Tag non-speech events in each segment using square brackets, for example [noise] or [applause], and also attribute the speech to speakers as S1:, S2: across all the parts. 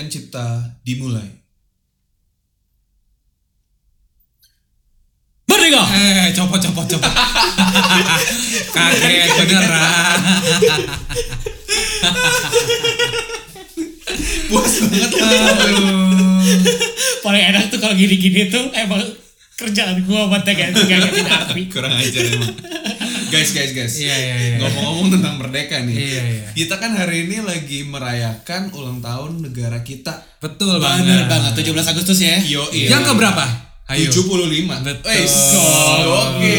S1: bisa dimulai.
S2: Merdeka!
S3: Eh, copot, copot, copot. Kaget beneran.
S1: Puas
S3: Iya,
S1: banget
S2: Paling enak tuh kalau gini-gini tuh emang kerjaan gua buat kayak ngingetin api.
S1: Kurang ajar emang. Guys, guys, guys.
S3: Iya, iya, iya.
S1: Ngomong-ngomong tentang merdeka nih.
S3: Iya, iya.
S1: Kita kan hari ini lagi merayakan ulang tahun negara kita.
S3: Betul banget.
S2: Bener banget, 17 Agustus ya.
S1: Yo,
S3: Yang keberapa? Ayo.
S1: 75.
S3: Betul.
S1: Wes, Eh, Oke.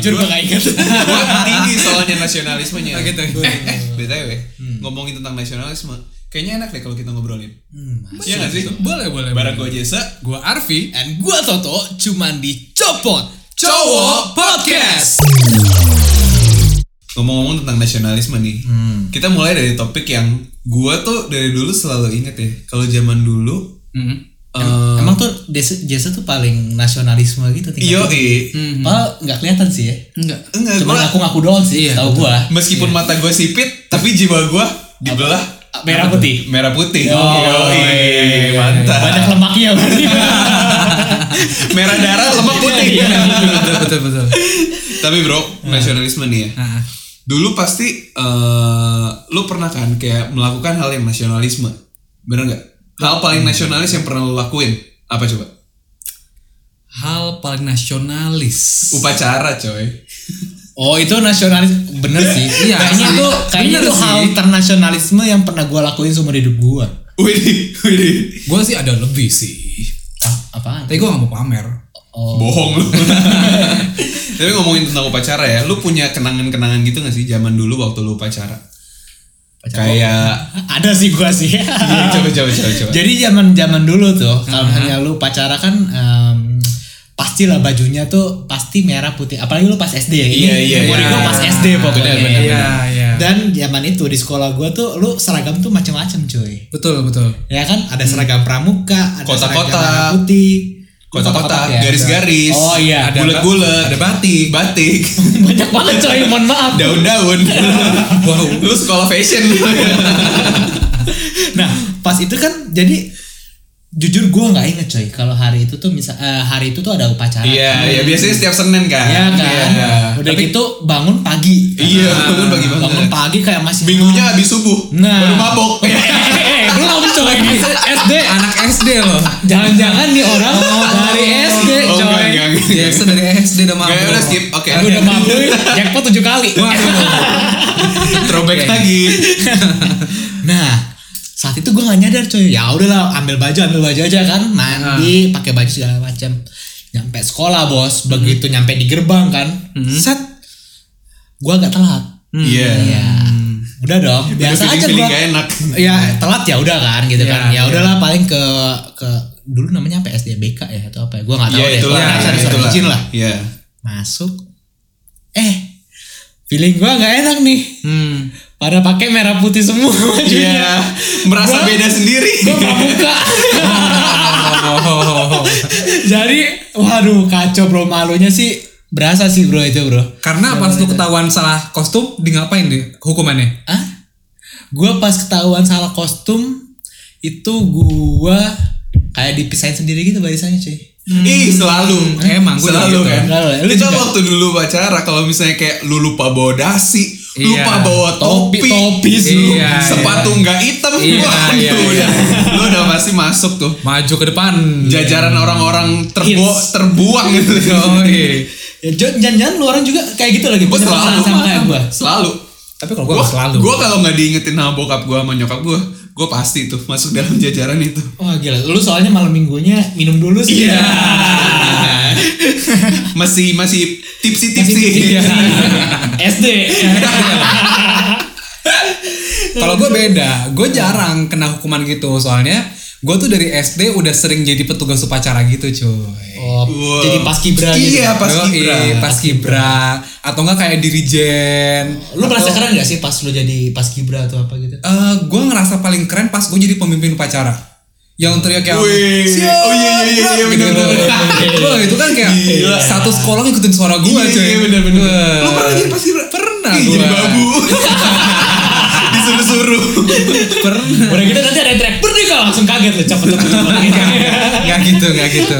S2: Jujur gua gak inget.
S1: Wah, tinggi soalnya nasionalismenya.
S3: Oh, gitu.
S1: Eh, eh, BTW,
S3: Hmm.
S1: ngomongin tentang nasionalisme, kayaknya enak deh kalau kita ngobrolin.
S3: Hmm,
S1: Iya nggak sih?
S3: Boleh, boleh.
S1: Barang
S3: boleh.
S1: gue Jesa,
S3: Gua Arfi.
S2: Dan gua Toto cuman dicopot.
S3: Cowok Podcast.
S1: ngomong-ngomong tentang nasionalisme nih. Kita mulai dari topik yang gua tuh dari dulu selalu inget ya. Kalau zaman dulu, eh,
S4: [laughs] Emang tuh Des- Jesse tuh paling nasionalisme gitu
S1: yo
S4: tingkat.
S2: Hmm.
S4: Padahal nggak kelihatan sih ya.
S3: Enggak.
S1: Iya. enggak
S4: Cuma
S1: gua-
S4: ngaku-ngaku doang sih, tahu gua.
S1: meskipun mata gua sipit, tapi jiwa gua dibelah
S2: Merah putih. iya,
S1: merah putih. Oh, mantap.
S2: Banyak lemaknya berarti.
S1: merah darah lemak putih.
S3: Iya. Betul, betul, betul.
S1: Tapi bro, nasionalisme nih ya.
S3: Ah, ah.
S1: Dulu pasti eh lu pernah kan kayak melakukan hal yang nasionalisme. Bener nggak? Hal paling nasionalis yang pernah lu lakuin apa coba?
S3: Hal paling nasionalis.
S1: Upacara coy.
S4: [laughs] Oh itu nasionalis bener sih.
S3: Iya,
S4: kayaknya
S3: asli.
S4: tuh kayaknya
S3: Bener
S4: tuh hal
S3: sih.
S4: internasionalisme yang pernah gua lakuin seumur hidup gua.
S1: Widih, widih.
S3: Gue sih ada lebih sih.
S4: Ah, apaan?
S3: Tapi gue gak mau pamer.
S1: Bohong lu. [laughs] Tapi ngomongin tentang upacara ya, lu punya kenangan-kenangan gitu gak sih zaman dulu waktu lu upacara? Kayak
S4: Ada sih gua sih.
S1: Iya, coba coba coba coba.
S4: Jadi zaman-zaman dulu tuh kalau
S1: Hmm.
S4: misalnya lu pacara kan em, pastilah bajunya tuh pasti merah putih. Apalagi lu pas SD ya. Ini
S1: Iya, iya,
S4: memori
S1: iya.
S4: gua pas SD pokoknya.
S1: Bener, bener,
S3: Iya, iya.
S4: Dan zaman itu di sekolah gua tuh lu seragam tuh macem-macem cuy.
S3: Betul, betul.
S4: Ya kan ada
S1: Hmm.
S4: seragam pramuka, ada
S1: Kotak-kotak.
S4: seragam merah putih,
S1: Kotak-kotak,
S4: ya?
S1: garis-garis.
S4: Oh iya.
S3: Ada
S1: bulat-bulat, ada batik, batik,
S4: [laughs] Banyak banget coy, mohon maaf.
S1: [laughs] daun-daun.
S3: Wow.
S1: lu sekolah fashion lu.
S4: Nah, pas itu kan jadi jujur gua nggak inget coy kalau hari itu tuh misal eh, hari itu tuh ada upacara.
S1: Iya, ya biasanya setiap Senin kan.
S4: Iya kan.
S1: Iya.
S4: Udah gitu bangun pagi. Nah,
S1: Iya, bangun pagi banget.
S4: Bangun pagi kayak masih
S1: Minggunya habis subuh,
S4: Nah.
S1: baru mabok.
S4: [laughs] Eh, belum coy SD.
S3: Anak SD loh.
S4: Jangan-jangan nih orang dari Iya, SD
S1: Oh,
S4: coy. Iya,
S1: enggak, enggak, enggak.
S3: Biasa Iya, dari SD udah mabuk.
S1: Enggak, udah skip. Oke.
S4: Aduh, udah mabuk jackpot tujuh kali.
S1: Throwback lagi.
S4: Nah, saat itu gue gak nyadar coy. Ya udahlah, ambil baju, ambil baju aja kan.
S1: Ah.
S4: Mandi, pakai baju segala macam. Nyampe sekolah bos,
S1: Hmm.
S4: begitu nyampe di gerbang kan. Set, gue agak telat.
S1: Iya.
S4: Ya, udah dong. Biasa
S1: Feeling-
S4: aja
S1: feeling
S4: gue.
S1: nggak enak.
S4: Ya telat ya udah kan gitu
S3: Iya,
S4: kan. Ya udahlah paling ke ke dulu namanya apa SDBK ya atau apa ya? Gue nggak tahu
S1: Iya,
S4: deh.
S1: itulah.
S4: Pokoknya harus ada
S1: itulah.
S4: izin lah.
S1: Iya.
S4: Masuk. Eh, feeling gue nggak enak nih. [laughs]
S3: Hmm.
S4: Pada pakai merah putih semua. [laughs] bajunya.
S1: Iya.
S4: Gua-
S1: Merasa beda sendiri.
S4: gue pramuka
S3: Oh.
S4: [laughs] jadi waduh kacau bro malunya sih berasa sih bro itu bro
S3: Karena pas lu ketahuan salah kostum, di ngapain deh hukumannya?
S4: ah gue pas ketahuan salah kostum itu gue kayak dipisahin sendiri gitu barisannya cuy
S1: Ih,
S3: Hmm.
S1: selalu.
S3: Emang, gua juga
S1: selalu
S3: gitu.
S1: kan.
S4: Selalu. Lu
S1: Kita
S4: juga.
S1: waktu dulu pacara kalau misalnya kayak lu lupa bawa dasi,
S3: Iya.
S1: lupa bawa topi,
S4: Topi- topi sih.
S1: lu
S3: Iya,
S1: sepatu
S3: iya.
S1: nggak hitam,
S3: Iya, iya,
S1: Waduh,
S3: iya.
S1: udah. Lu udah pasti masuk tuh.
S3: Maju ke depan.
S1: Jajaran orang-orang terbo
S4: Hits.
S1: terbuang gitu.
S3: Oh, [laughs] iya.
S4: ya Jo- jangan-jangan lu orang juga kayak gitu lagi
S1: Gue
S4: punya
S1: selalu
S4: perasaan sama kayak gue
S1: Selalu.
S3: Tapi kalau gue selalu.
S1: Gue kalau nggak diingetin sama bokap gue sama nyokap gue, gue pasti tuh masuk dalam jajaran itu.
S4: wah Oh, gila lu soalnya malam minggunya minum dulu sih
S1: Iya. masih masih tipsi
S4: Masih
S1: tipsi. [laughs]
S4: tipsi.
S3: iya.
S4: SD
S3: Kalau gue beda, gue jarang kena hukuman gitu soalnya gue tuh dari SD udah sering jadi petugas upacara gitu cuy.
S4: oh,
S1: Wow.
S4: jadi pas kibra gitu.
S1: Iya, pas kibra.
S3: pas kibra atau enggak kayak dirijen.
S4: lu merasa keren gak sih pas lu jadi pas kibra atau apa gitu
S3: Eh, gue ngerasa paling keren pas gue jadi pemimpin upacara. Yang teriak yang
S1: Wih.
S3: "Siap!"
S1: Oh, iya, iya, iya, iya,
S3: gitu.
S1: bener, bener,
S4: bener.
S3: [laughs] Wah, itu kan kayak
S1: Gila.
S3: satu sekolah ngikutin suara gue
S1: Iya,
S3: cuy.
S1: iya, bener, bener.
S3: Wah.
S1: Lu pernah jadi paskibra?
S3: Pernah
S1: Ih, jadi
S3: gua. [laughs]
S1: babu. Disuruh-suruh.
S3: Pernah.
S4: Udah gitu nanti ada track merdeka langsung kaget loh cepet cepet cepet gitu.
S3: [laughs]
S1: [laughs]
S3: nggak gitu nggak gitu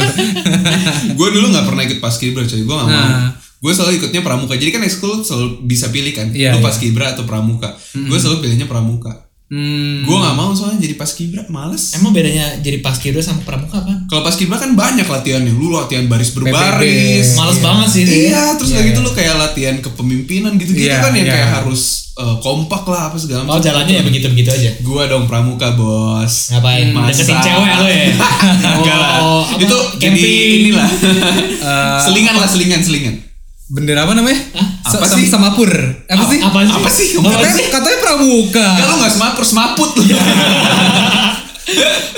S1: gue dulu nggak pernah ikut paskibra coy gue nggak mau
S3: Nah.
S1: gue selalu ikutnya pramuka jadi kan ekskul selalu bisa pilih kan
S3: Iya,
S1: lu
S3: iya.
S1: paskibra atau pramuka gue selalu pilihnya pramuka
S3: hmm,
S1: gue nggak mau soalnya jadi paskibra males
S4: Emang bedanya jadi paskibra sama pramuka apa?
S1: kalau paskibra kan banyak latihannya lu latihan baris berbaris
S3: PPB.
S4: Males banget sih.
S1: Iya, terus
S3: Iya,
S1: udah gitu
S3: iya.
S1: lu kayak latihan kepemimpinan gitu-gitu
S3: Iya,
S1: kan yang
S3: iya.
S1: kayak harus eh, kompak lah apa segala
S4: Kalau
S1: macam.
S4: jalannya ya begitu-begitu aja.
S3: Oh.
S1: Gua dong pramuka, Bos.
S4: Ngapain?
S1: Masak.
S4: Deketin cewek lo ya.
S1: [laughs] Enggak lah.
S4: Oh, apa?
S1: Itu jadi
S4: Camping.
S3: [laughs]
S1: inilah. selingan lah, selingan, selingan.
S3: eh, bendera apa namanya
S1: Apa
S3: Sa- sam-
S1: sih?
S3: samapur apa sih
S4: Apa sih?
S1: Apa sih?
S4: Apa
S3: katanya,
S4: sih?
S3: katanya pramuka
S1: Kalau nggak semapur, semaput lu. Iya.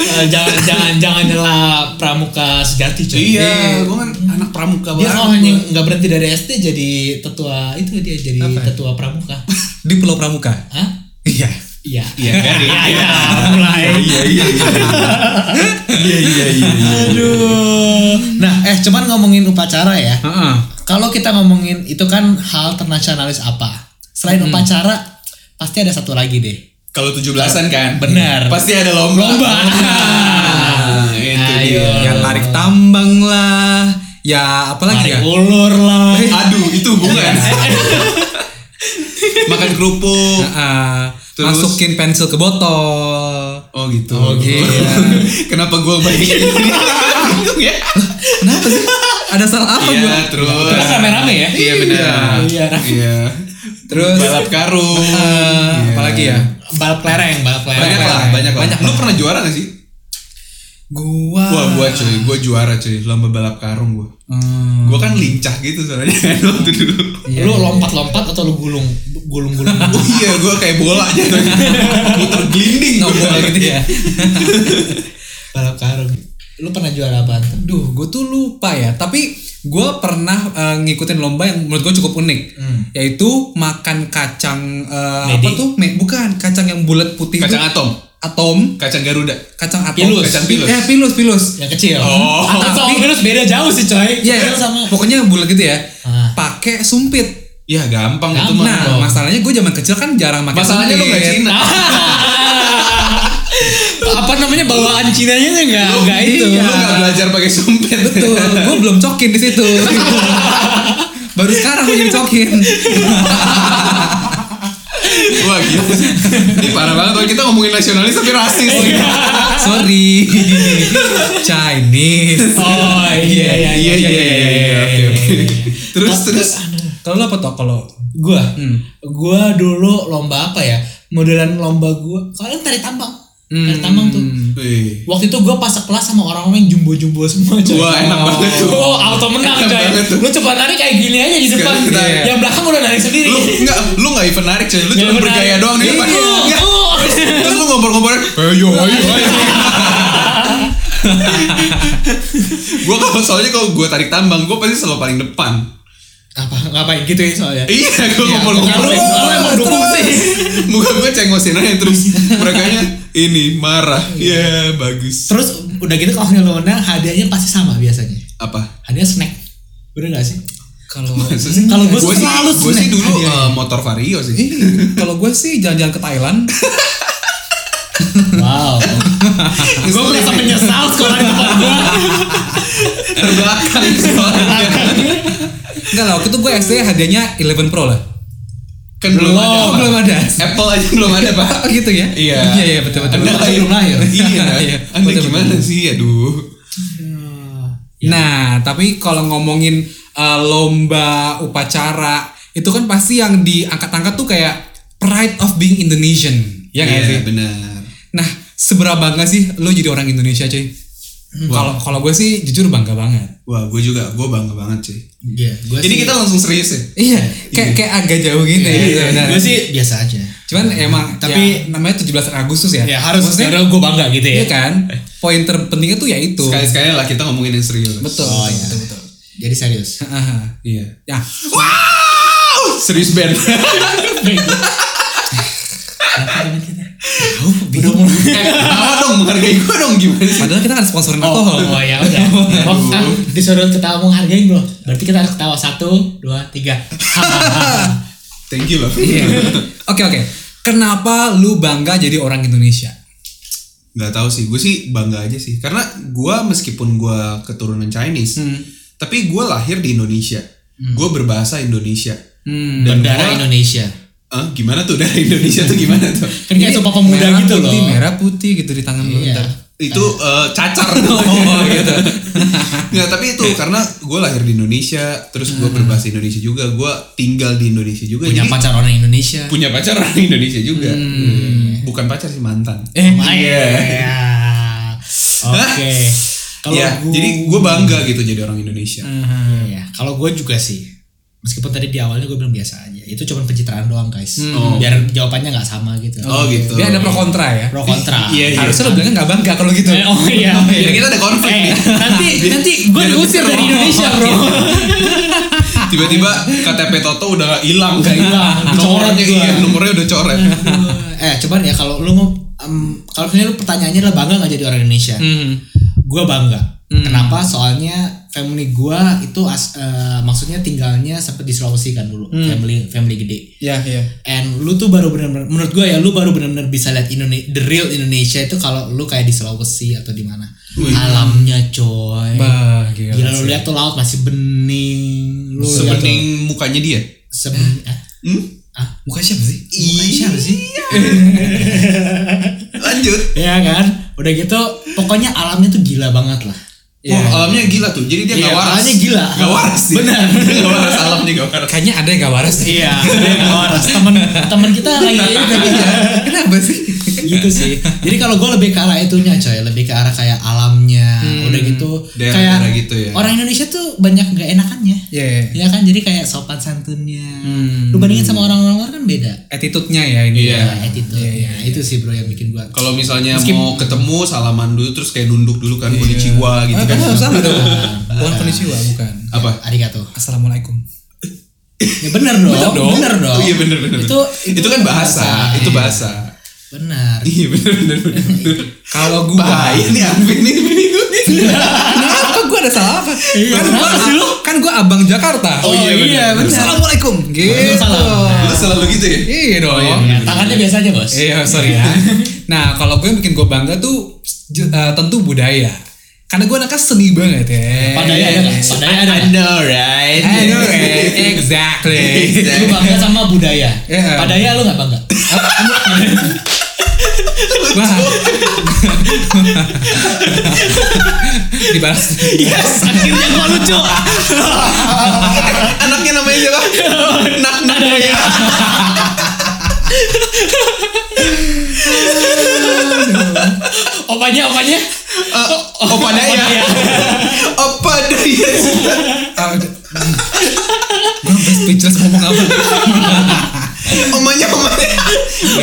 S4: Eh, jangan jangan jangan nyela pramuka sejati coy.
S1: iya, gua kan anak pramuka
S4: Dia
S1: banget.
S4: awalnya nggak berhenti dari SD jadi tetua itu dia jadi tetua pramuka.
S3: di pulau pramuka
S4: Hah?
S3: iya
S4: Iya.
S1: Iya, kan? Iya, iya.
S2: Ya, mulai.
S1: Iya, iya, iya. Iya, iya, iya, iya.
S4: Aduh. Nah, eh cuman ngomongin upacara ya.
S3: Heeh.
S4: Kalau kita ngomongin itu kan hal ternasionalis apa?
S1: Hmm.
S4: Selain upacara, pasti ada satu lagi deh.
S1: Kalau 17-an kan?
S4: Benar.
S1: Pasti ada lomba.
S4: Lomba.
S1: Nah, itu
S4: Ayo.
S3: ya
S1: dia.
S3: tarik tambang lah ya apalagi
S4: Tarik
S3: ya
S4: ulur lah.
S1: Aduh, itu bukan.
S3: Iya.
S1: [laughs] Makan kerupuk.
S3: Heeh.
S1: Terus?
S3: Eh, masukin pensil ke botol
S1: Oh gitu. Iya,
S3: Oh, gitu.
S1: Kenapa gitu? gue bayangin ini? Bingung ya.
S3: kenapa sih ada salah apa
S1: Iya,
S3: gua?
S1: terus.
S4: Terus rame-rame ya?
S1: Iya benar.
S4: Iya.
S1: Iya.
S3: terus
S1: Balap karung.
S3: eh, apalagi ya
S4: Balap kelereng, balap kelereng.
S1: Banyak lah, banyak lah. Lu pernah juara gak sih?
S3: gua
S1: Wah, gua cuy, gua juara cuy, lomba balap karung gua.
S3: Hmm.
S1: Gua kan lincah gitu soalnya [laughs] waktu dulu.
S4: Lu lompat-lompat atau lu gulung? Gulung-gulung. [laughs]
S1: Oh iya, gua kayak bola jatuh. Muter gelinding gua. Iya.
S3: ngobrol gitu
S1: [laughs]
S3: ya
S4: balap karung. Lu pernah juara apa?
S3: Duh, gue tuh lupa ya. Tapi gue pernah eh, ngikutin lomba yang menurut gue cukup unik,
S1: Hmm.
S3: yaitu makan kacang eh, apa
S4: Medi.
S3: tuh? Me- bukan kacang yang bulat putih.
S1: Kacang
S3: tuh.
S1: atom,
S3: atom,
S1: kacang Garuda.
S3: kacang atom,
S1: Pilus.
S3: kacang pilus.
S1: Kacang pilus.
S3: Eh, pilus, pilus.
S4: Yang kecil.
S1: Oh.
S4: Atau
S3: Tapi-
S4: virus beda jauh sih, coy.
S3: Iya,
S4: Kecil sama
S3: pokoknya bulat gitu ya.
S4: Ah.
S3: Pakai sumpit.
S1: Ya gampang itu mah.
S3: Nah,
S1: Oh.
S3: masalahnya gue zaman kecil kan jarang makan
S1: Masalahnya lu
S4: Iya.
S1: gak Cina.
S4: [laughs] Ah, apa namanya bawaan Cinanya tuh enggak enggak itu.
S1: Lu gak belajar pakai sumpit.
S3: Betul, gue belum cokin di
S4: [laughs]
S3: situ. Baru sekarang gue jadi cokin.
S1: [laughs] Wah gila sih. Ini parah banget kalau kita ngomongin nasionalis tapi rasis.
S4: Iya.
S3: Sorry, Chinese.
S4: Oh iya iya iya iya iya. iya,
S1: Oke,
S4: iya,
S1: oke.
S4: iya.
S1: Terus terus
S4: anu.
S3: Kalau lo apa toh kalau
S4: Gua gua dulu lomba apa ya? Modelan lomba gua. Kalian tarik tambang.
S3: hmm.
S4: Tarik tambang tuh.
S1: Wih.
S4: Waktu itu gua pas kelas sama orang-orang yang jumbo-jumbo semua coy.
S1: Wah, enak banget tuh.
S4: Oh, auto menang
S1: Enak
S4: coy.
S1: banget tuh.
S4: Lu coba narik kayak gini aja di depan.
S1: Sekarang kita-
S4: Yang belakang udah narik sendiri.
S1: Lu enggak lu enggak even narik coy. Lu
S4: Nggak
S1: cuma
S4: even
S1: bergaya
S4: narik.
S1: doang di depan.
S4: Iya.
S1: Nggak.
S4: Oh.
S1: Terus lu ngompor-ngompor. Ayo Eh, ayo ayo. Gua kalau soalnya kalau gua tarik tambang, gua pasti selalu paling depan.
S4: Apa ngapain gitu ya soalnya?
S1: Iya, gua ngompor-ngompor.
S4: Kalau kalau emang dukung sih.
S1: Muka gue cengosin aja terus
S3: Iya.
S1: merekanya ini marah. Iya, bagus.
S4: Terus udah gitu kalau yang lo menang hadiahnya pasti sama biasanya.
S1: Apa?
S4: Hadiahnya snack. Bener gak sih?
S3: Hmm, kalau [laughs]
S4: Kalau gue
S1: Gua sih-
S4: selalu
S1: gua sih
S4: snack
S1: dulu
S3: Iya.
S4: hadiahnya.
S1: eh, motor vario sih.
S3: Ih, kalau gue sih jalan-jalan ke Thailand
S4: Wow.
S1: [laughs]
S4: gue merasa menyesal sekolah di tempat gue.
S3: Iya.
S1: terbelakang soalnya
S3: enggak lah waktu itu gue SD hadiahnya 11 Pro lah
S1: kan belum ada
S3: oh
S1: Pak.
S3: belum ada
S1: Apple aja belum ada pak
S3: oh [clears throat] gitu ya
S1: Iya.
S3: iya iya betul betul
S1: Anda
S4: Belum lahir, belum lahir.
S1: iya
S3: [laughs] Iya.
S1: anda
S3: Betul,
S1: gimana
S3: betul.
S1: sih aduh
S3: nah tapi kalau ngomongin eh, lomba upacara itu kan pasti yang diangkat-angkat tuh kayak pride of being Indonesian ya
S4: Iya.
S3: nggak sih
S1: Iya, benar
S3: nah seberapa bangga sih lo jadi orang Indonesia cuy kalau kalau gue sih jujur bangga banget
S1: wah gue juga gue bangga banget cuy
S4: Iya, gue
S1: ini kita langsung serius ya
S3: iya kayak kayak agak jauh gitu
S1: Iya,
S3: ya gitu, benar.
S4: Iya, gue sih biasa aja.
S3: Cuman emang
S4: Tapi-
S3: ya, namanya 17 Agustus ya.
S1: Iya,
S4: Ya harus
S3: Maksudnya,
S4: karena gue bangga gitu ya.
S3: iya kan? Poin terpentingnya tuh ya itu.
S1: sekali sekali lah kita ngomongin yang serius
S3: Betul.
S4: Oh, iya.
S3: betul, betul.
S4: Jadi [laughs] serius.
S3: Aha.
S1: iya
S3: Ya,
S1: wow serius band [laughs] ketawa dong menghargai gue dong gimana sih
S3: padahal kita kan sponsorin
S4: Oh,
S3: alkohol.
S4: oh ya udah. Oh, ah, disuruh ketawa menghargain belum? Berarti kita harus ketawa satu, dua, tiga.
S1: thank you loh
S3: Iya. Oke, oke. Kenapa lu bangga jadi orang Indonesia?
S1: [laughs] nggak tahu sih gue sih bangga aja sih karena gue meskipun gue keturunan Chinese
S3: Hmm.
S1: tapi gue lahir di Indonesia gue berbahasa Indonesia
S3: Hmm.
S1: dan
S4: Bendera
S1: gua-
S4: Indonesia.
S1: Eh, gimana tuh [laughs] dari Indonesia tuh gimana tuh
S4: Kan kayak sumpah pemuda
S3: merah
S4: gitu
S3: putih,
S4: loh.
S3: Merah putih gitu di tangan lu
S4: Iya. [laughs]
S3: ntar.
S1: itu eh, cacar
S3: Oh, gitu.
S1: Nggak, tapi itu karena gue lahir di Indonesia terus gue berbahasa Indonesia juga gue tinggal di Indonesia juga
S4: Punya
S1: jadi
S4: pacar orang Indonesia.
S1: punya pacar orang Indonesia juga Hmm. bukan pacar sih mantan
S4: Eh, iya. Oke. Kalau
S1: ya
S4: gua-
S1: jadi gue bangga gitu jadi orang Indonesia
S4: Iya, kalau gue juga sih. Meskipun tadi di awalnya gue bilang biasa aja, itu cuma pencitraan doang guys.
S1: Oh.
S4: Biar jawabannya nggak sama gitu.
S1: oh gitu
S3: Dia ada pro kontra ya.
S4: Pro kontra.
S1: Iya, iya.
S3: Harusnya lu bilangnya nggak bangga kalau gitu.
S2: Eh,
S3: [laughs]
S2: oh iya.
S1: jadi kita ada konflik
S2: Eh,
S1: nih
S2: nanti nanti gue diusir dari Indonesia
S3: [laughs]
S2: bro.
S4: Iya.
S1: tiba-tiba KTP Toto udah hilang
S4: Udah hilang, dicoret
S1: [laughs] nomornya
S4: juga.
S1: iya nomornya udah coret
S4: eh, cuman ya kalau lu mau em, kalau misalnya lu pertanyaannya adalah bangga nggak jadi orang Indonesia?
S3: Hmm.
S4: Gue bangga.
S2: Hmm.
S4: Kenapa? Soalnya family gue itu as- eh, maksudnya tinggalnya sempet di Sulawesi kan dulu,
S2: Hmm.
S4: family family gede.
S3: Ya, ya.
S4: And lu tuh baru benar-benar menurut gue ya lu baru benar-benar bisa lihat Indonesia the real Indonesia itu kalau lu kayak di Sulawesi atau di mana. Alamnya coy.
S3: Bah, gila.
S4: Gila lu lihat tuh laut masih bening. Lu lihat tuh-
S1: sebening mukanya dia
S4: sebening. ah,
S1: hmm?
S3: Muka siapa sih?
S4: mukanya siapa sih?
S1: lanjut
S4: Ya kan? Udah gitu pokoknya alamnya tuh gila banget lah.
S1: Wah, alamnya gila tuh. Jadi dia Ya, nggak
S4: Iya,
S1: waras.
S4: alamnya gila.
S1: Nggak waras sih.
S4: Benar.
S1: Dia [laughs] nggak waras alamnya nggak waras.
S3: Kayaknya ada yang gak waras nih.
S4: Iya, dia nggak waras. Temen temen kita lagi
S1: [laughs]
S4: tapi
S1: Iya.
S4: ya
S3: Kenapa sih?
S4: gitu sih. Jadi kalau gue lebih ke arah itunya coy, lebih ke arah kayak alamnya, udah gitu.
S1: Hmm. Daerah-daerah
S4: kayak
S1: gitu ya.
S4: Orang Indonesia tuh banyak gak enakannya.
S3: Iya, iya.
S4: Ya kan, jadi kayak sopan santunnya.
S1: Hmm.
S4: Lu bandingin sama orang-orang luar kan beda.
S3: Attitude-nya ya ini.
S1: Iya.
S4: Nah, attitude. Nah, itu sih bro yang bikin gue.
S1: Kalau misalnya mau ketemu salaman dulu terus kayak nunduk dulu kan kulit jiwa gitu
S3: Ah,
S1: kan.
S3: kamu harus sama dong. Bukan konnichiwa, bukan.
S1: Apa?
S4: Arigato.
S3: Assalamualaikum.
S4: Ya bener dong. Bener dong. Bener
S1: Oh, iya bener bener.
S4: Itu
S1: itu, kan bahasa, itu bahasa.
S4: Bener.
S1: Iya bener bener bener.
S3: Kalau gua
S1: Bahaya nih Alvin nih minggu nih.
S3: Kenapa gua ada salah apa? kan gua, kan gua abang Jakarta.
S1: Oh, iya, bener.
S3: Assalamualaikum. Gitu.
S4: Waalaikumsalam.
S1: Lu selalu gitu ya?
S3: Iya dong.
S1: Oh, iya,
S4: Ya, tangannya biasa aja bos.
S3: Iya, sorry ya. Nah, kalau gue yang bikin gue bangga tuh j- eh, tentu budaya. Karena gue anaknya seni banget ya.
S4: Padanya ada nggak?
S1: Iya.
S4: Padanya ada nggak?
S1: know right.
S3: I know, right? ya. Exactly.
S1: Iya.
S4: Lu bangga sama budaya.
S3: Iya.
S4: Padaya lu gak bangga?
S3: Wah. [laughs] Dibalas.
S4: Yes, akhirnya gua [laughs] lucu.
S1: [laughs] Anaknya namanya siapa? Nak nak [laughs] ya.
S4: Opanya, opanya.
S1: Opa Daya. [laughs] Opa Daya.
S3: Ah, udah. Gue hampir speechless ngomong apa.
S1: Omanya omanya.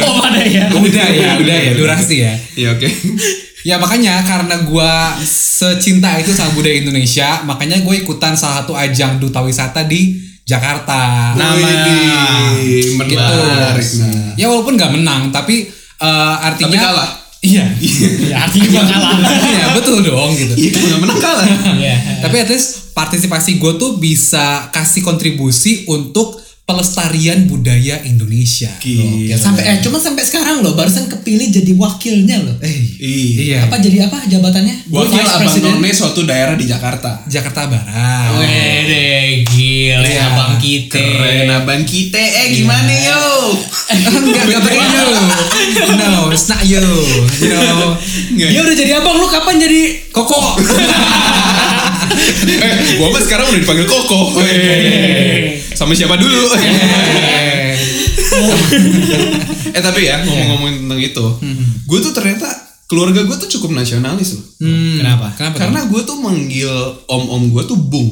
S4: Opadaya.
S3: Udah ya, udah ya, durasi ya.
S1: Iya oke.
S3: Ya makanya karena gua secinta itu sama budaya Indonesia, makanya gue ikutan salah satu ajang duta wisata di Jakarta.
S1: Widih, menarik.
S3: gitu.
S1: Nah.
S3: Ya walaupun nggak menang, tapi eh, artinya
S1: Tapi kalah.
S3: [laughs] Iya.
S4: Ya, artinya gua kalah.
S3: Iya, betul dong gitu.
S1: Iya, nggak menang kalah.
S4: Iya.
S3: Tapi at least partisipasi gue tuh bisa kasih kontribusi untuk pelestarian budaya Indonesia.
S1: Gila.
S4: Ya, sampai eh cuma sampai sekarang loh barusan kepilih jadi wakilnya loh.
S3: Eh,
S1: Iya.
S3: iya.
S4: Apa jadi apa jabatannya?
S1: Wakil
S4: Vice
S1: Abang
S4: President.
S1: None suatu daerah di Jakarta.
S3: Jakarta Barat.
S4: Wede, gile
S3: Iya.
S4: abang kita.
S1: Keren abang kita, eh gimana yo?
S3: Enggak, enggak pakai you. No, it's not you. You know.
S4: Dia udah jadi abang lu kapan jadi
S1: [laughs]
S3: Koko.
S1: eh, gua mah sekarang udah dipanggil Koko. Iya. Eh, Sama siapa dulu? eh tapi ya ngomong-ngomongin tentang itu, gue tuh ternyata keluarga gue tuh cukup nasionalis loh.
S3: Hmm.
S4: Kenapa?
S3: Kenapa?
S1: Karena gue tuh manggil om-om gue tuh bung.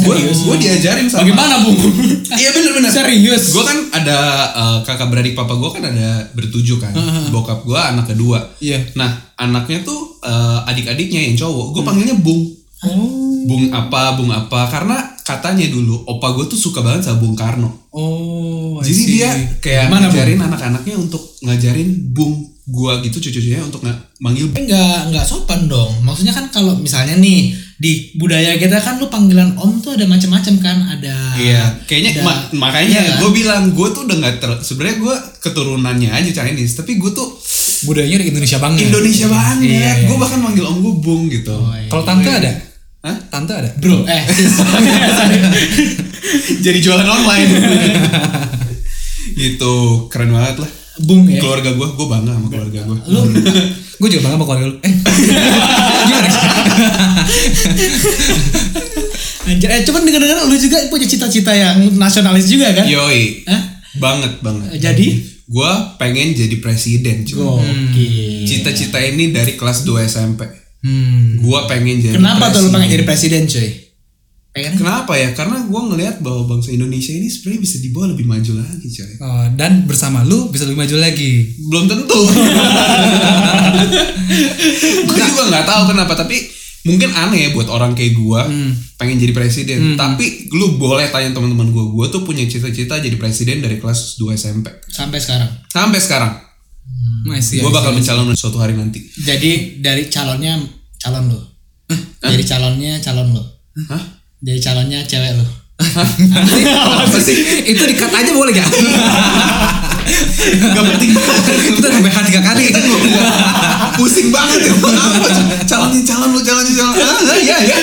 S1: Gue gue diajarin sama.
S4: Oh. Bagaimana, Bung?
S1: [laughs] Iya bener-bener.
S4: Serius.
S1: Gue kan ada eh, kakak beradik papa gue kan ada bertujuh kan. Bokap gue anak kedua.
S3: Iya.
S1: Nah anaknya tuh eh, adik-adiknya yang cowok. Gue panggilnya bung.
S4: Oh.
S1: Bung apa, bung apa. Karena katanya dulu opa gue tuh suka banget sama Bung Karno.
S3: Oh, I
S1: Jadi
S3: see.
S1: dia kayak
S4: Gimana,
S1: ngajarin anak-anaknya untuk ngajarin bung gue gitu cucu-cucunya untuk nggak manggil bung.
S4: Enggak, enggak sopan dong. Maksudnya kan kalau misalnya nih di budaya kita kan lu panggilan om tuh ada macam-macam kan, ada
S1: Iya, kayaknya
S4: ada-
S1: ma- makanya
S4: Iya kan? Hmm.
S1: gue bilang gue tuh udah nggak ter, sebenarnya gue keturunannya aja Chinese, tapi gue tuh
S3: budayanya udah Indonesia banget.
S1: Indonesia banget.
S3: Iya, iya.
S1: Gue bahkan manggil om gue bung gitu.
S4: Oh, iya.
S3: Kalau tante ada?
S1: Hah?
S3: Tante ada?
S4: Bro, eh [laughs] sis.
S1: [laughs] Jadi jualan online. [laughs] gitu keren banget lah.
S4: Bung ya.
S1: Keluarga gue, gue bangga sama keluarga Hmm. gue.
S4: Lu kan?
S3: Gue juga bangga sama keluarga lu. Eh, gimana?
S4: anjir, eh cuman denger-denger lu juga punya cita-cita yang nasionalis juga
S1: Iya.
S4: kan?
S1: Yoi,
S4: Hah?
S1: banget banget.
S4: Jadi
S1: Gue pengen jadi presiden. cuy.
S4: Gokil.
S1: Cita-cita ini dari kelas 2 SMP.
S3: Hmm.
S1: Gue pengen jadi.
S4: Kenapa tuh lu
S1: presiden.
S4: pengen jadi presiden, cuy? Pengen
S1: Kenapa ya? Karena gue ngelihat bahwa bangsa Indonesia ini sebenarnya bisa dibawa lebih maju lagi, coy.
S3: Oh, dan bersama lu bisa lebih maju lagi.
S1: Belum tentu.
S3: [laughs]
S1: gue juga nggak tahu kenapa, tapi mungkin aneh ya buat orang kayak gue
S3: Hmm.
S1: pengen jadi presiden. Tapi lu boleh tanya teman-teman gue, gue tuh punya cita-cita jadi presiden dari kelas 2 SMP
S4: sampai sekarang.
S1: sampai sekarang.
S3: Hmm. Masih.
S1: gue bakal mencalon suatu hari nanti.
S4: Jadi dari calonnya calon lu. Dari calonnya calon lu.
S1: Hah?
S4: Dari calonnya cewek lu.
S1: Apa sih?
S3: Itu dikat aja boleh gak?
S1: Gak penting.
S3: Kita sampai hati tiga kali.
S1: Pusing banget ya. Apa? Calonnya calon lu, calonnya calon. Ah, ya, ya.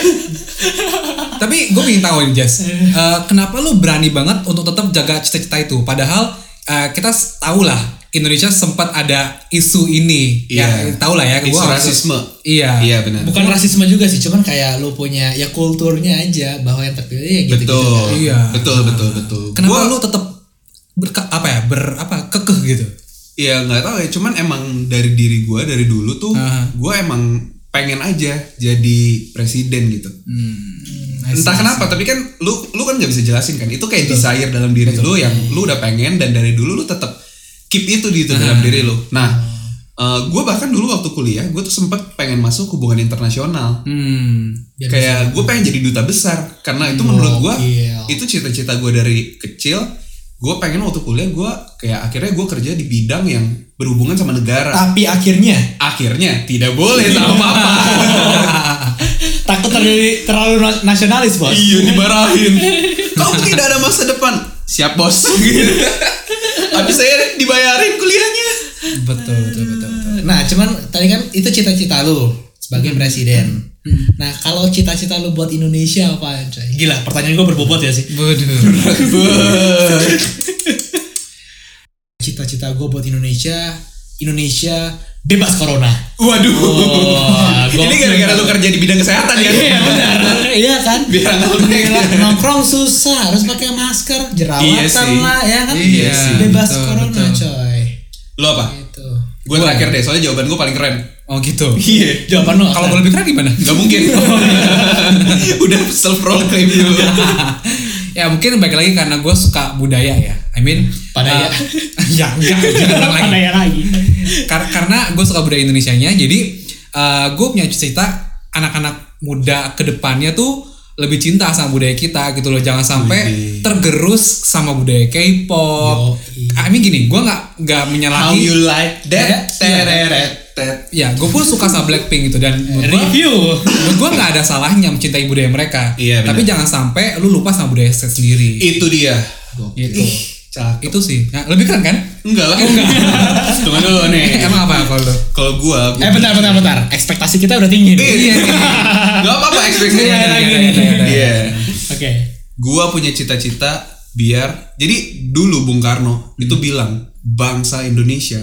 S3: Tapi gue pengen tahu nih Jess, Eh, kenapa lu berani banget untuk tetap jaga cita-cita itu? Padahal eh, kita s- tahu lah Indonesia sempat ada isu ini, ya
S1: Iya.
S3: tahu lah ya.
S1: Isu
S3: gua harus-
S1: rasisme.
S3: Iya.
S1: Iya benar.
S4: Bukan rasisme juga sih, cuman kayak lu punya ya kulturnya aja bahwa yang terpilih ya gitu.
S1: betul.
S3: Iya.
S1: Betul, betul, betul.
S3: Kenapa
S1: Gua-
S3: lu tetap berke apa ya ber apa kekeh gitu?
S1: Iya nggak tahu ya, cuman emang dari diri gue dari dulu tuh
S3: Aha.
S1: gue emang pengen aja jadi presiden gitu. Entah kenapa, tapi kan lu lu kan nggak bisa jelasin kan. Itu kayak desire dalam diri lu yang lu udah pengen dan dari dulu lu tetap keep itu di itu dalam diri lu. Nah, gue bahkan dulu waktu kuliah gue tuh sempet pengen masuk hubungan internasional.
S3: Hmm.
S4: Biar
S1: kayak gue pengen jadi duta besar karena itu menurut gue
S4: gokil.
S1: itu cita-cita gue dari kecil. Gue pengen waktu kuliah gue kayak akhirnya gue kerja di bidang yang berhubungan sama negara
S4: Tapi akhirnya
S1: akhirnya tidak boleh sama apa
S4: takut terjadi terlalu na- nasionalis, Bos.
S1: iya dibarahin kau tidak ada masa depan siap bos Gitu. habis saya dibayarin kuliahnya
S3: Betul betul
S1: [laughs]
S3: betul. betul.
S1: Iya.
S4: Nah, cuman tadi kan itu cita-cita lu sebagai presiden. Nah, kalau cita-cita lu buat Indonesia apa, coy? Gila, pertanyaan gua berbobot ya sih.
S3: Waduh.
S4: Cita-cita gua buat Indonesia, Indonesia bebas corona.
S1: waduh
S4: Wah,
S1: [laughs] ini
S4: gokil.
S1: gara-gara lu kerja di bidang kesehatan kan
S4: Iya benar. Iya kan?
S1: biar nggak
S4: Gila,
S1: lengket.
S4: nongkrong susah, harus pakai masker, jerawatan
S1: Iya sih.
S4: lah ya kan.
S3: Iya sih,
S4: Bebas
S3: betul,
S4: corona,
S3: betul.
S4: coy.
S1: lu apa
S4: Gitu.
S1: gue terakhir deh soalnya jawaban gue paling keren
S3: Oh gitu.
S1: iya
S4: Jawaban lu
S3: Kalau gue lebih keren gimana?
S1: Gak mungkin [laughs] Udah self proclaim dulu
S3: [laughs] ya mungkin baik lagi karena gue suka budaya ya. I mean.
S4: Padaya.
S3: eh, [laughs] ya enggak.
S1: [laughs]
S3: Jangan ulang lagi.
S1: ya,
S2: Padahal lagi.
S3: Kar- karena gue suka budaya Indonesianya jadi gue punya cita anak-anak muda kedepannya tuh lebih cinta sama budaya kita gitu loh jangan sampai
S1: Widih.
S3: tergerus sama budaya K-pop.
S4: Yoi.
S3: I mean gini gue nggak nggak
S1: How
S3: menyalahi
S1: you like
S4: Eh,
S1: that Tereret tet.
S3: ya gue pun suka sama Blackpink gitu dan menurut gue
S4: review.
S3: menurut gue nggak ada salahnya mencintai budaya mereka
S1: Iya, benar.
S3: tapi jangan sampai lu lupa sama budaya saya sendiri
S1: Itu dia
S3: gitu
S1: Cakep
S3: itu sih Nah, lebih keren kan
S1: Enggak lah [laughs] Tunggu dulu nih
S3: emang apa kalau lu?
S1: Kalau gue
S4: Eh bentar bentar bentar. Ekspektasi kita udah
S1: [laughs]
S4: tinggi. nih.
S1: Iya. Gak apa-apa ekspektasi
S3: Iya,
S1: kita.
S3: iya, iya, iya, iya.
S1: Iya.
S4: Oke.
S1: Gua punya cita-cita biar jadi dulu Bung Karno
S3: Hmm.
S1: itu bilang bangsa Indonesia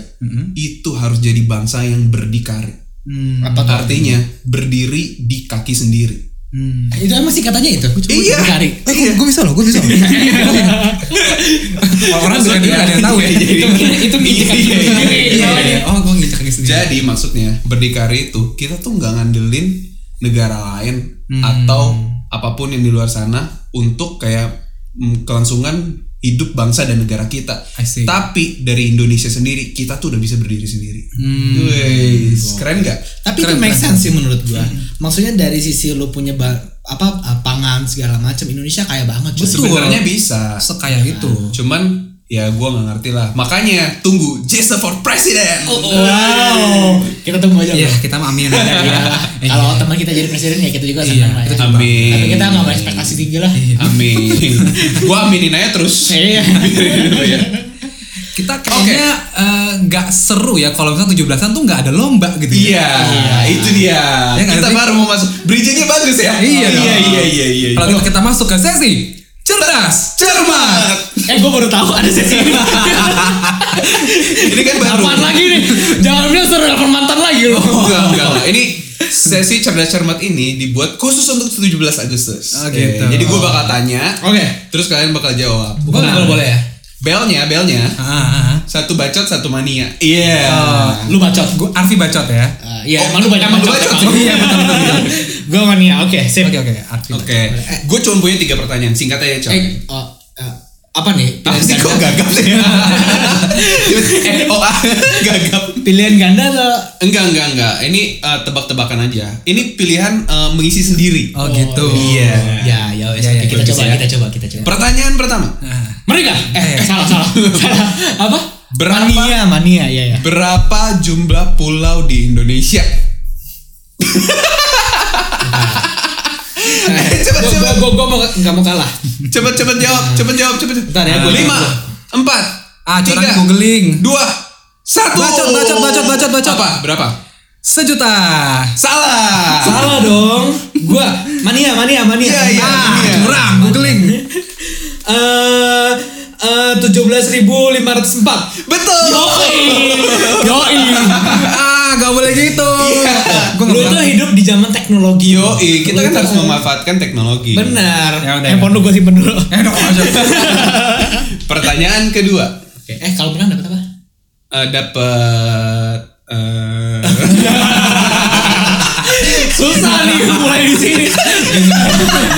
S1: itu harus jadi bangsa yang berdikari. Hmm,
S3: Hmm.
S4: Apa tuh?
S1: Artinya berdiri di kaki sendiri.
S4: Itu emang sih katanya itu. Gua coba
S1: Iya.
S4: cari.
S3: gue bisa loh gue bisa loh
S1: [laughs]
S3: orang dengan dia ada yang tahu ya
S4: Itu itu minta
S3: Iya, iya. Oh, gue ngicak di sendiri.
S1: Jadi maksudnya berdikari itu kita tuh nggak ngandelin negara lain
S3: Hmm.
S1: atau apapun yang di luar sana untuk kayak mm, kelangsungan hidup bangsa dan negara kita.
S3: I see.
S1: Tapi dari Indonesia sendiri kita tuh udah bisa berdiri sendiri.
S3: Hmm.
S1: Wes, keren nggak?
S4: Tapi itu make sense sih menurut gua. Maksudnya dari sisi lu punya ba- apa eh, pangan segala macam Indonesia kaya banget cuy.
S3: Betul.
S1: Sebenarnya bisa.
S3: sekaya itu.
S1: Cuman ya gua nggak ngerti lah. Makanya tunggu Jason for President.
S4: Oh,
S1: [laughs]
S4: Wow. Kita tunggu aja.
S3: Iya,
S4: bro.
S3: kita mah amin.
S4: Iya. Kalau teman kita jadi presiden ya kita Iya. juga
S3: Iya,
S4: senang lah ya.
S3: kita
S1: Amin.
S4: Tapi kita nggak berekspektasi tinggi lah.
S1: Amin. gua aminin aja terus.
S4: Iya.
S1: Biarin dulu ya.
S3: kita kayaknya eh, nggak seru ya kalau misalnya 17-an tuh nggak ada lomba gitu ya.
S1: Iya, itu dia.
S3: Ya nggak
S1: kita
S3: sih?
S1: baru mau masuk. Bridgingnya bagus ya.
S3: Iya dong.
S1: iya, iya, iya, iya.
S3: Kalau gitu kita masuk ke sesi cerdas.
S1: Cermat.
S4: Eh gue baru tahu ada sesi ini.
S1: Ini kan baru. Oh,
S4: Apaan lagi nih? Jangan bilang seru delapan mantan lagi loh.
S1: Enggak, enggak, enggak. Ini sesi cerdas cermat ini dibuat khusus untuk 17 Agustus.
S3: Oh, gitu.
S1: Eh, jadi gue bakal tanya,
S4: Oke.
S1: terus kalian bakal jawab.
S4: Bukan
S3: Boleh,
S4: boleh, boleh ya?
S1: Belnya, belnya.
S3: Nah. Ah,
S1: Satu bacot, satu mania. Iya.
S4: Lu bacot.
S3: gue Arfi bacot ya.
S4: Eh, Iya,
S1: Oh,
S4: emang lu banyak
S1: emang lu
S4: bacot.
S1: bacot.
S4: Iya, betul betul. Gue mania. Oke, sip.
S3: Oke oke Arfi.
S1: Oke. Gue cuma punya tiga pertanyaan. Singkat aja, Cok.
S4: Eh, eh, eh, apa nih?
S1: Apa sih kok gagap
S4: [laughs]
S1: sih? eh, oh, ah, gagap.
S4: Pilihan ganda atau
S1: Enggak, enggak, enggak. Ini eh, tebak-tebakan aja. Ini pilihan eh, mengisi sendiri.
S3: Oh, gitu.
S1: iya.
S4: Ya, ya, wes.
S3: Ya, ya,
S4: Oke, kita
S1: bagus
S4: coba,
S1: ya.
S4: kita coba, kita coba.
S1: Pertanyaan pertama.
S3: Ah.
S4: Mereka? Eh,
S3: Eh.
S4: salah, [laughs] salah. Salah. Apa?
S1: Berapa-
S4: Mania, mania, ya, ya.
S1: Berapa jumlah pulau di Indonesia? Eh, Cepat
S4: Gue
S1: cepat
S4: gue gue mau nggak mau kalah.
S1: cepat cepat jawab cepat jawab cepat. jawab.
S4: Bentar ya, gua
S1: Lima,
S4: jawab.
S1: empat,
S3: Ah, curang
S1: tiga,
S3: googling.
S1: dua, satu.
S3: Bacot, bacot, bacot, bacot, bacot.
S1: Apa? Berapa?
S3: Sejuta.
S1: Salah.
S4: Salah dong. Gua mania, mania, mania.
S1: Iya, iya,
S4: Ah,
S1: iya.
S4: curang, googling. Eh, tujuh belas ribu lima ratus empat.
S1: Betul.
S4: [laughs] Yoi.
S3: ah gak boleh gitu. Gua
S4: Lu
S3: nggak
S4: tuh
S3: boleh.
S4: hidup di zaman teknologi.
S1: Yo, kita
S4: Lu
S1: kan
S3: Iya.
S4: tuh-
S1: harus memanfaatkan teknologi.
S4: Benar.
S3: Ya udah,
S4: Handphone
S3: ya.
S4: lu gue simpen dulu.
S3: Eh dong [laughs]
S1: Pertanyaan kedua.
S4: Oke, Eh, kalau menang dapat apa?
S1: Eh, dapat
S3: [laughs]
S1: eh,
S4: Susah nih mulai di sini.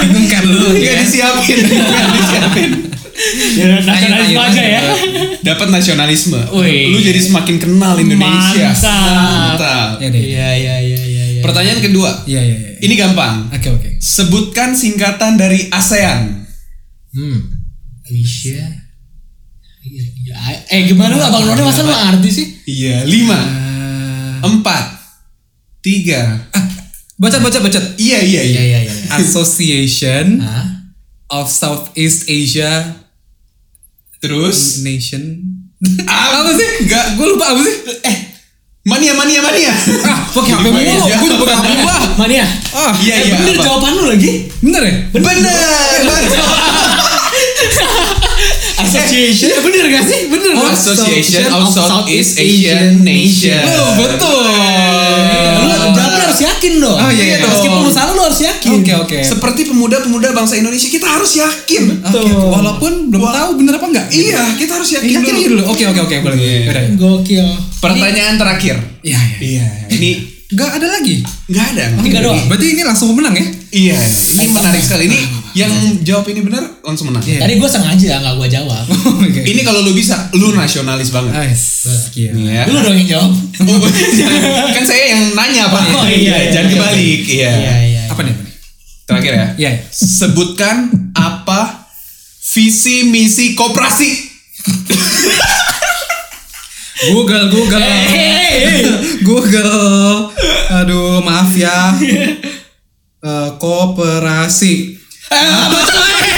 S3: Bingung kan lu.
S1: nggak disiapin,
S3: Iya.
S1: nggak disiapin. Iya,
S4: Ya, nasionalisme
S3: tanya,
S4: aja ya.
S1: Dapat nasionalisme.
S4: Wih.
S1: Lu jadi semakin kenal Indonesia.
S4: Mantap.
S3: Ya
S1: Mantap.
S3: deh.
S4: Iya, iya, iya, iya. iya.
S1: Pertanyaan kedua.
S3: Iya iya iya.
S1: Ini gampang.
S3: Oke oke.
S1: Sebutkan singkatan dari ASEAN.
S4: Hmm. Asia. Eh gimana lu abang Nona masa lu arti sih?
S1: Iya,
S3: Ah.
S1: lima, empat, tiga.
S3: Bacot bacot bacot.
S1: Iya, iya, iya.
S4: iya.
S3: Association
S4: Hah?
S3: of Southeast Asia
S1: Terus
S3: Nation.
S1: apa sih? Enggak.
S3: Gue lupa apa sih? Eh,
S1: Mania, mania, mania.
S3: ah, pakai HP
S1: Gua
S3: mulu.
S1: aja.
S3: Gue udah pakai HP gua.
S4: Mania.
S3: Ah,
S1: Iya,
S4: Eh,
S1: iya.
S4: bener
S1: apa?
S4: jawaban lu lagi?
S3: bener ya?
S1: Bener. bener. Eh,
S4: Association.
S1: iya,
S4: bener gak sih? Bener.
S1: Oh,
S3: ya?
S4: kan?
S1: Association of Southeast Asian Nation.
S3: Oh, betul.
S4: Lu jawabnya harus yakin dong.
S3: Iya. Oh, iya, iya.
S4: Meskipun lu salah lu harus yakin.
S3: Oke oke.
S1: Seperti pemuda-pemuda bangsa Indonesia kita harus
S3: Oke,
S1: yakin.
S3: oke. Gitu. Walaupun belum tahu bener apa enggak.
S1: Iya, kita harus yakin
S3: Yakin
S1: dulu.
S3: aja dulu. Oke oke oke boleh.
S1: Iya.
S3: Udah.
S4: Gokil.
S1: Pertanyaan terakhir.
S3: Iya iya.
S1: Iya. Ini
S3: Enggak ada lagi.
S1: nggak ada.
S4: Tiga doang.
S3: Berarti ini langsung menang ya? [laughs]
S1: Iya. Ini menarik sekali. Ini yang jawab ini benar langsung menang.
S3: Iya.
S4: Tadi gue sengaja gak gue jawab.
S3: Oke.
S1: Ini kalau lu bisa, lu nasionalis
S3: [laughs]
S1: banget.
S3: Oh
S1: [laughs]
S3: Nice.
S1: Nih
S4: Iya.
S1: ya.
S4: Lu dong yang jawab.
S1: Jangan- kan saya yang nanya pak.
S4: Oh, iya, iya.
S1: Jangan kebalik. Iya.
S4: iya.
S3: Apa nih? apa nih?
S1: Terakhir ya.
S3: Iya. iya.
S1: Sebutkan apa visi misi koperasi.
S3: Google, Google, [laughs] Google. Aduh, maaf ya. Eh, koperasi.
S4: Eh, apa tuh? Eh,